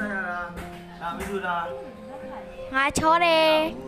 ဒါမီဒူရာ ငါချောတယ် ဟို